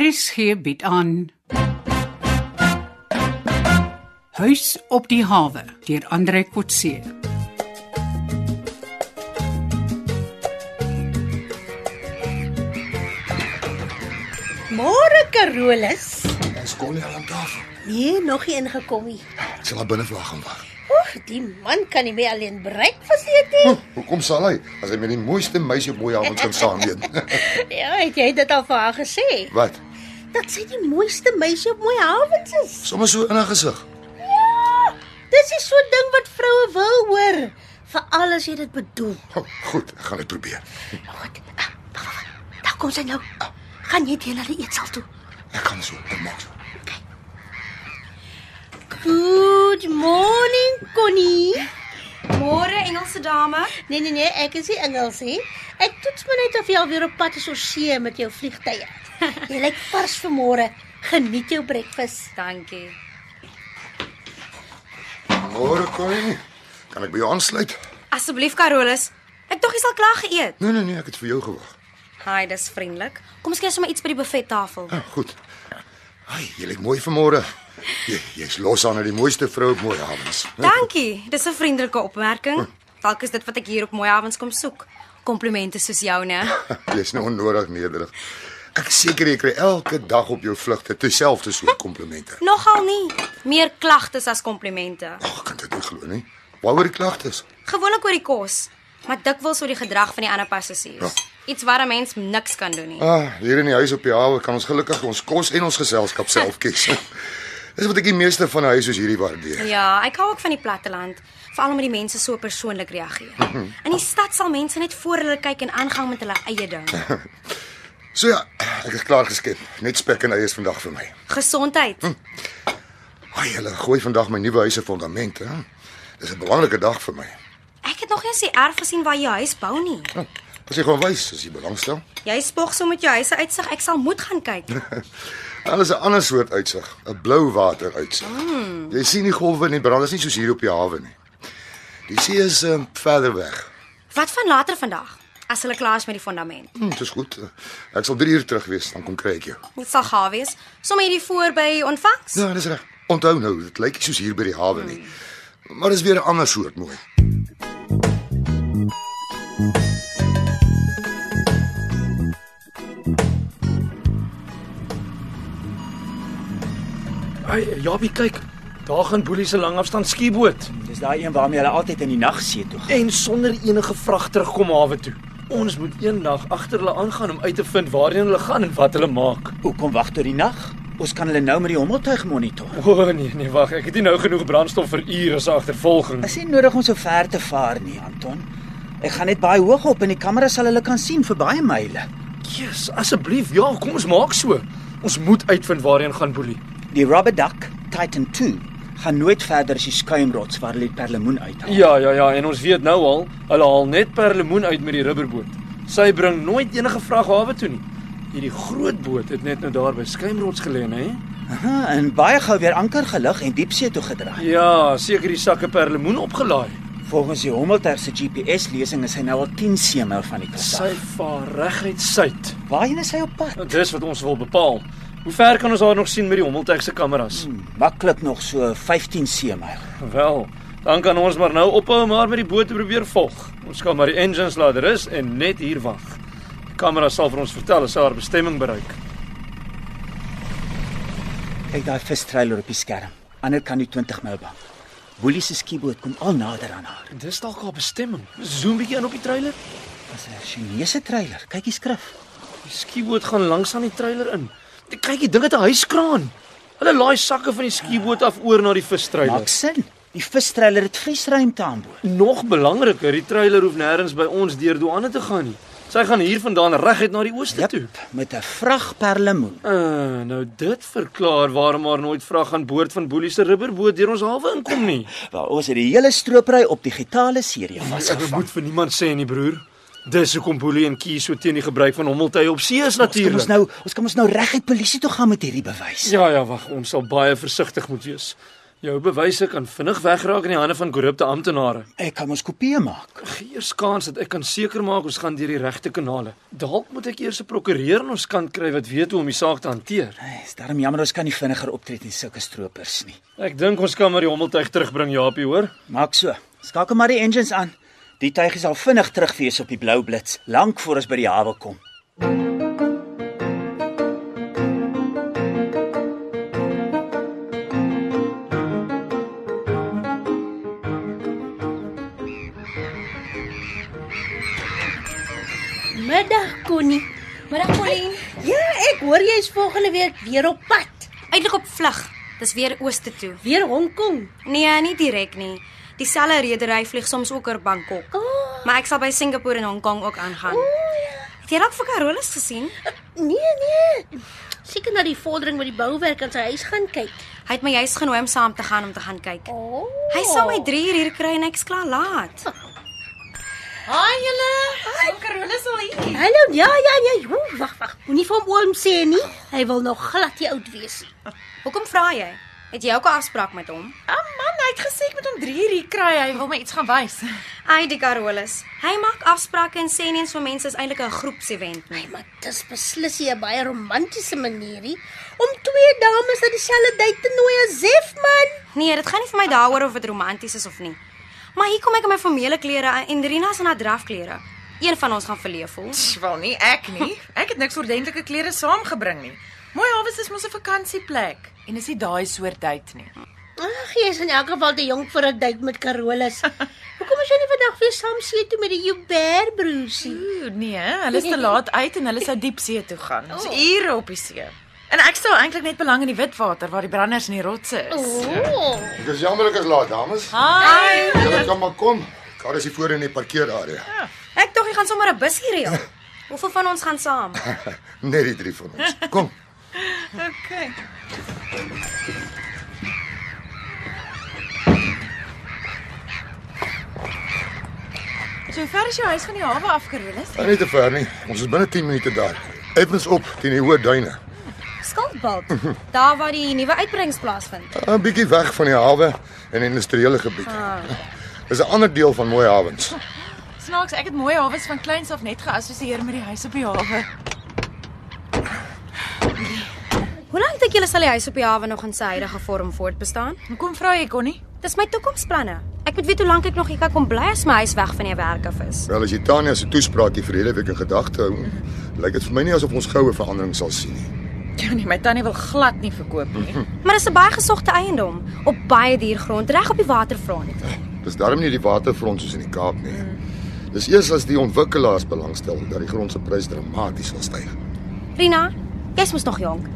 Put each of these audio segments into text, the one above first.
RSG bied aan Huis op die hawe deur Andre Kotse. Môre Carolus. Ons kom nie al aan tafel. Nee, nog nie ingekom nie. Ek sal haar binne vra gaan wag. Oeg, die man kan nie meer alleen bereik verseet nie. Hm, Hoekom sal hy as hy met die mooiste meisie op mooi avond kan saamwees? Ja, het jy dit al vir haar gesê? Wat? Dat sy die mooiste meisie op mooi havens is. Sommige so in haar gesig. Ja, dis is so 'n ding wat vroue wil hoor, veral as jy dit bedoel. Oh, goed, ek gaan dit probeer. Goed. ah, wag, wag, wag. Daar kom sy nou. Gaan jy teen hulle eetsaal toe? Ek kan so, ek maak so. Good morning, Connie. Môre Engelse dame. Nee nee nee, ek is nie Engels nie. Ek toets maar net of jy al weer op pad is oor see met jou vliegtye. Jy lyk vars vanmôre. Geniet jou breakfast. Dankie. Môre kom jy. Kan ek by jou aansluit? Asseblief Carolus, ek dog jy sal klaar geëet. Nee nee nee, ek het vir jou gewag. Haai, dis vriendelik. Kom ons kry sommer iets by die buffettafel. Ah, goed. Ai, jy lyk mooi vanmôre. Jy jy's los aan na die mooiste vrou op mooi avonds. Dankie. Dis 'n vriendelike opmerking. Dalk is dit wat ek hier op mooi avonds kom soek. Komplimente soos joune. Jy's nou onnodig nederig. Ek is seker jy kry elke dag op jou vlugte dieselfde soort komplimente. Nogal nie. Meer klagtes as komplimente. Ag, ek kan dit nie glo nie. Waaroor die klagtes? Gewoonlik oor die kos, maar dikwels oor die gedrag van die ander passasiers. Iets waar 'n mens niks kan doen nie. Ah, hier in die huis op die hawe kan ons gelukkig ons kos en ons geselskap self kies. Dis wat ek die meeste van 'n huis soos hierdie waardeer. Ja, ek hou ook van die platteland, veral omdat die mense so persoonlik reageer. In die stad sal mense net voor hulle kyk en aangaan met hulle eie ding. So ja, ek is klaar geskep. Net spek en eie is vandag vir my. Gesondheid. Ai, hulle gooi vandag my nuwe huis se fondament, hè. Dis 'n belangrike dag vir my. Ek het nog nie eens die erf gesien waar jy huis bou nie. Hm, As jy gewoon wys, as jy belangstel. Jy spog so met jou huis se uitsig, ek sal moet gaan kyk. Alles 'n ander soort uitsig, 'n blou water uitsig. Jy sien die golwe en die brand is nie soos hier op die hawe nie. Die see is um, verder weg. Wat van later vandag? As hulle klaar is met die fondament. Hm, dis goed. Ek sal 3 uur terug wees, dan kom kry ek jou. Dit sal gaaf wees. Sommige hierdie voorby ontvangs. Ja, dis reg. Onthou nou, dit lyk nie soos hier by die hawe nie. Maar dis weer 'n ander soort mooi. Ai, Jabie, kyk. Daar gaan Boelie se langafstand skieboot Dis daai een waarmee hulle altyd in die nag see toe gaan. en sonder enige vrag terugkom hawe toe. Ons moet eendag agter hulle aangaan om uit te vind waarheen hulle gaan en wat hulle maak. Hoekom wag tot die nag? Ons kan hulle nou met die hommeltuig monitor. O oh, nee, nee, wag, ek het nie nou genoeg brandstof vir ure se agtervolging. Is nie nodig om so ver te vaar nie, Anton. Ek gaan net baie hoog op en die kamera sal hulle kan sien vir baie myle. Jesus, asseblief, ja, kom ons maak so. Ons moet uitvind waarheen gaan Boelie. Die rubber duck Titan 2 gaan nooit verder as die skuimrots waar hulle die perlemoen uithaal. Ja, ja, ja, en ons weet nou al, hulle haal net perlemoen uit met die rubberboot. Sy bring nooit enige vrag hawe toe nie. Hierdie groot boot het net nou daar by Skuimrots gelê, hè? Aha, en baie gou weer anker gelig en diepsee toe gedraai. Ja, seker die sakke perlemoen opgelaai. Volgens die hommeltuig se GPS-lesing is hy nou al 10 seemil van die kus Sy af. vaar reguit suid. Waarheen is hy op pad? Nou, Dis wat ons wil bepaal. Hoe ver kan ons haar nog sien met die hommeltuig se kameras? Maklik nog so 15 seemil. Wel, dan kan ons maar nou ophou om haar met die boot te probeer volg. Ons kan maar die engines laat rus en net hier wag. Die kamera sal vir ons vertel as sy haar bestemming bereik. Kyk daai vistreiler op die skerm. Ander kan die 20 myl bank. Boelie se skieboot kom al nader aan haar. Dis dalk haar bestemming. Zoom bietjie in op die trailer. Dis 'n Chinese treiler. Kyk die skrif. Die skieboot gaan langs aan die trailer in. Kyk, die ding het 'n hyskraan. Hulle laai sakke van die skieboot af oor na die vistreiler. Maak sin. Die vistreiler het vriesruimte aan boord. Nog belangriker, die trailer hoef nêrens by ons deur douane te gaan nie. Sy gaan hier vandaan reguit na die ooste toe. met 'n vrag perlemoen. Uh, nou dit verklaar waarom maar nooit vrag aan boord van Boelie se rubberboot deur ons hawe inkom nie. Waar ons het die hele stropery op digitale serie Ek vasgevang. moet vir niemand sê nie, broer. Dis hoekom Boelie en Kie so teen die gebruik van hommeltuie op see is Ons kan ons natuurlik. nou, ons kan ons nou reguit polisie toe gaan met hierdie bewys. Ja ja, wag, ons sal baie versigtig moet wees. Jou bewyse kan vinnig wegraak in die hande van korrupte amptenare. Ek kan ons kopieë maak. Gee eers kans dat ek kan seker maak ons gaan deur die regte kanale. Dalk moet ek eers 'n prokureur aan ons kant kry wat weet hoe om die saak te hanteer. Hey, is darm jammer ons kan nie vinniger optree teen sulke stroopers nie. Ek dink ons kan maar die hommeltuig terugbring, Japie, hoor? Maak so. Skakel maar die engines aan. Die tuig is al vinnig terug wees op die blou blits, lank voor ons by die hawe kom. Middag Connie. Middag Colleen. Ja, ek hoor jy's volgende week weer op pad. Uitlik op vlug. Dis weer ooste toe. Weer Hong Kong. Nee, nie direk nie. Dieselfde redery vlieg soms ook oor Bangkok. Oh. Maar ek sal by Singapore en Hong Kong ook aangaan. Het jy dalk vir Carolus gesien? Nee, nee. Seker na die vordering met die bouwerk aan sy huis gaan kyk. Hy het my juis genooi om saam te gaan om te gaan kyk. Oh. Hy sal my 3 uur hier kry en ek's klaar laat. Haai julle. Ou Carolus al hier. Hallo. Ja, ja, ja. Jo, wag, wag. Moenie vir hom oom sê nie. Hy wil nog glad nie oud wees nie. Hoekom vra jy? Het jy ook 'n afspraak met hom? Ah man, hy het gesê ek moet hom 3 uur hier kry. Hy wil my iets gaan wys. Ai, die Carolus. Hy maak afsprake en sê nie eens vir mense is eintlik 'n groepsevent nie. Nee, maar dis beslis nie 'n baie romantiese manierie om twee dames na dieselfde date te nooi as Zef man. Nee, dit gaan nie vir my daaroor of dit romanties is of nie. Maar hier kom ek in my formele klere en Rina is in haar drafklere. Een van ons gaan verleef voel. Tch, Wel nie ek nie. Ek het niks ordentlike klere saamgebring nie. Mooi Hawes is mos 'n vakansieplek en is nie daai soort tyd nie. Ag, jy is in elk geval te jonk vir 'n date met Carolus. Hoekom is jy nie vandag weer saam see toe met die Joubert broersie? Ooh, nee, hulle is te laat uit en hulle sou diepsee toe gaan. Ons oh. ure op die see. En ek stel eintlik net belang in die witwater waar die branders in die rotse is. Ooh. Ek is jammer ek is laat, dames. Hi. Julle kan maar kom. Kar is hier voor in die parkeerarea. Ek dink jy gaan sommer 'n bus hier reël. Hoeveel van ons gaan saam? Net die drie van ons. Kom. Okay. So ver is jou huis van die hawe af, Carolus? Gaan nie te ver nie. Ons is binne 10 minute daar. Effens op teen die hoë duine. Skildpad. Daar waar die nuwe uitbreidings plaasvind. 'n Bietjie weg van die hawe en industriële gebied. Dis 'n ander deel van Mooi Hawens. Snaaks, ek het mooi hawes van kleins af net geassosieer met die huis op die hawe. Hoe lank dink julle sal die huis op die hawe nog in sy huidige vorm voortbestaan? Hoekom vra jy Connie? Dis my toekomsplanne. Ek moet weet hoe lank ek nog hier kan kom bly as my huis weg van die werk af is. Wel as jy Tanya se toespraak hier verlede week in gedagte hou, lyk dit vir my nie asof ons goue verandering sal sien nie. Ja nee, my tannie wil glad nie verkoop nie. Maar dis 'n baie gesogte eiendom op baie duur grond reg op die waterfront. Dis darm nie die waterfront soos in die Kaap nie. Dis eers as die ontwikkelaars belangstel dat die grond se prys dramaties sal styg. Rina, jy's mos nog jonk.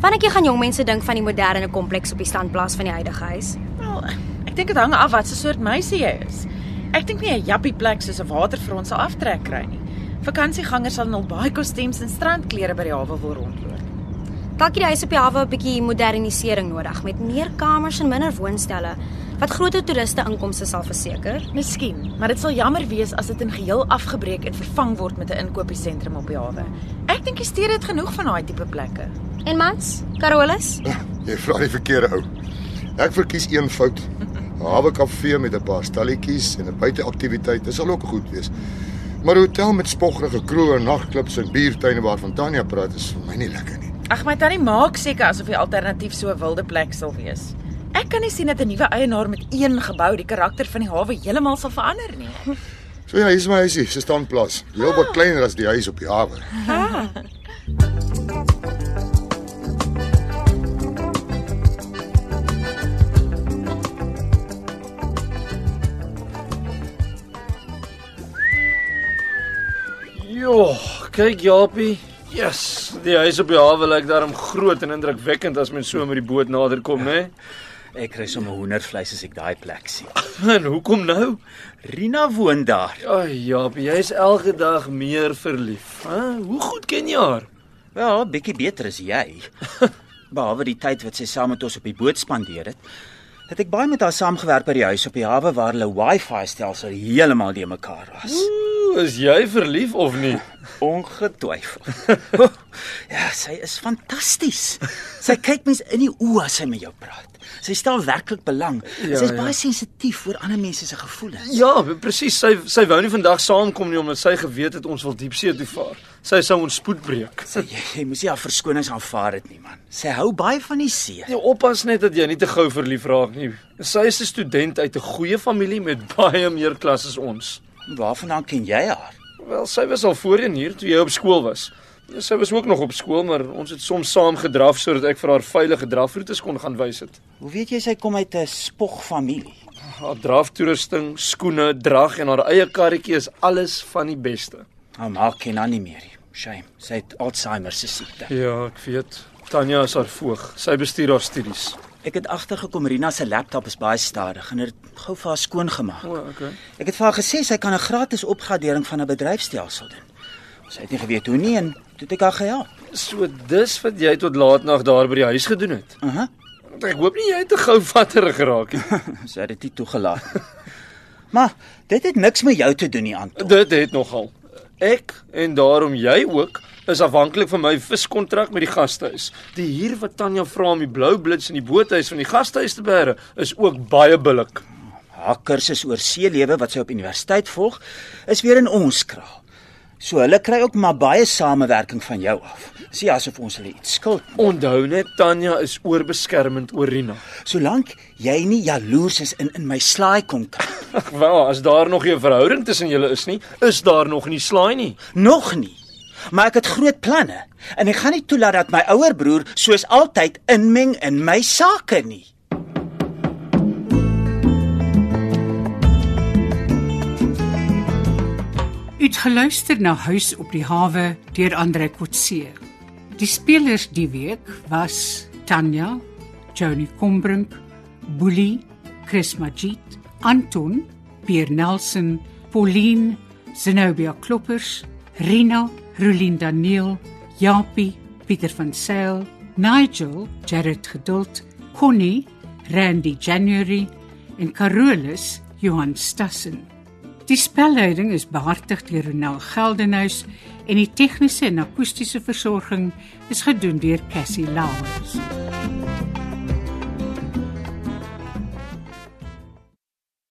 Wanneer jy gaan jong mense dink van die moderne kompleks op die standplaas van die huidige huis? Wel, ek dink dit hang af wat se soort meisie jy is. Ek dink nie 'n jappie plek soos 'n waterfront sal aftrek kry nie. Vakansiegangers sal in hul baie kostuums en strandklere by die hawe wil rondloop. Dalk het die huis op die hawe 'n bietjie modernisering nodig met meer kamers en minder woonstelle wat groter toeriste inkomste sal verseker. Miskien, maar dit sal jammer wees as dit in geheel afgebreek en vervang word met 'n inkopiesentrum op die hawe. Ek dink die stede het genoeg van daai tipe plekke. En mans, Carolus, Jy vra die verkeerde ou. Ek verkies een fout. 'n Hawe kafee met 'n paar stalletjies en 'n buiteaktiwiteit, dit sal ook goed wees. Maar 'n hotel met spoggerige kroë, nagklubs en biertuine waarvan Tanya praat is vir my nie lekker nie. Ag my tannie maak seker asof die alternatief so 'n wilde plek sal wees. Ek kan nie sien dat 'n nuwe eienaar met een gebou die karakter van die hawe heeltemal sal verander nie. So ja, hier is my huisie, se standplaas. Heel wat kleiner as die huis op die hawe. Jo, kyk Japie. Yes, die huis op die hawe lyk daarom groot en indrukwekkend as mens so met die boot nader kom, né? Ek kry sommer hoendervleis as ek daai plek sien. En hoekom nou? Rina woon daar. Ag Japie, jy's elke dag meer verlief. Hæ? Hoe goed ken jy haar? Wel, bietjie beter as jy. Behalwe die tyd wat sy saam met ons op die boot spandeer het, het ek baie met haar saamgewerk by die huis op die hawe waar hulle Wi-Fi stelsel heeltemal de mekaar was. Ooh, So is jy verlief of nie? Ongetwyfeld. O, ja, sy is fantasties. Sy kyk mens in die oë as sy met jou praat. Sy stel werklik belang. Ja, Ja, sy ja. is ja. baie sensitief oor ander mense se gevoelens. Ja, presies. Sy sy wou nie vandag saamkom nie omdat sy geweet het ons wil diepsee toe vaar. Sy sou ons spoed breek. Sy jy, jy moes nie haar verskonings aanvaar het nie, man. Sy hou baie van die see. Jy oppas net dat jy nie te gou verlief raak nie. Sy is 'n student uit 'n goeie familie met baie meer klas as ons. Waarvandaan ken jy haar? Wel, sy was al voorheen hier toe jy op skool was. Sy was ook nog op skool, maar ons het soms saam gedraf sodat ek vir haar veilige drafroetes kon gaan wys het. Hoe weet jy sy kom uit 'n spogfamilie? Haar draftoerusting, skoene, drag en haar eie karretjie is alles van die beste. Haar ma ken haar nou nie meer nie. Shame. Sy het Alzheimer se siekte. Ja, ek weet. Tanya is haar voog. Sy bestuur haar studies. Ek het agtergekom Rina se laptop is baie stadig en het dit gou vir haar skoon gemaak. O, Ah, okay. Ek het vir haar gesê sy kan 'n gratis opgradering van 'n bedryfstelsel doen. Sy het nie geweet hoe nie en toe het ek haar gehelp. So dis wat jy tot laatnag daar by die huis gedoen het. Aha. Uh -huh. Ek hoop nie jy het te gou vatterig geraak nie. Sy het dit nie toegelaat. nie. maar dit het niks met jou te doen nie, Anton. Dit het nogal. Ek en daarom jy ook is afhanklik van my viskontrak met die gastehuis. Die huur wat Tanya vra om die blou blits in die boothuis van die gastehuis te bære is ook baie billik. Haar kursus oor seelewe wat sy op universiteit volg, is weer in ons kraal. So hulle kry ook maar baie samewerking van jou af. Sien asof ons hulle iets skuld. Onthou net Tanya is oorbeskermend oor Rina. Solank jy nie jaloers is en in my slaai kom kyk. Ag wel, as daar nog 'n verhouding tussen julle is nie, is daar nog nie slaai nie. Nog nie. Maar ek het groot planne en ek gaan nie toelaat dat my ouer broer soos altyd inmeng in my sake nie. U het geluister na Huis op die hawe deur Andre Kotse. Die spelers die week was Tanya, Johnny Combrink, Bully, Chris Magid, Anton, Pierre Nelson, Pauline, Zenobia Kloppers, Rina, Rulien Daniel, Japie, Pieter van Sail, Nigel, Jared Geduld, Connie, Randy January en Carolus Johan Stassen. Die spelleiding is behartig deur Ronel Geldenhuys en die tegniese en akoestiese versorging is gedoen deur Cassie Lauer.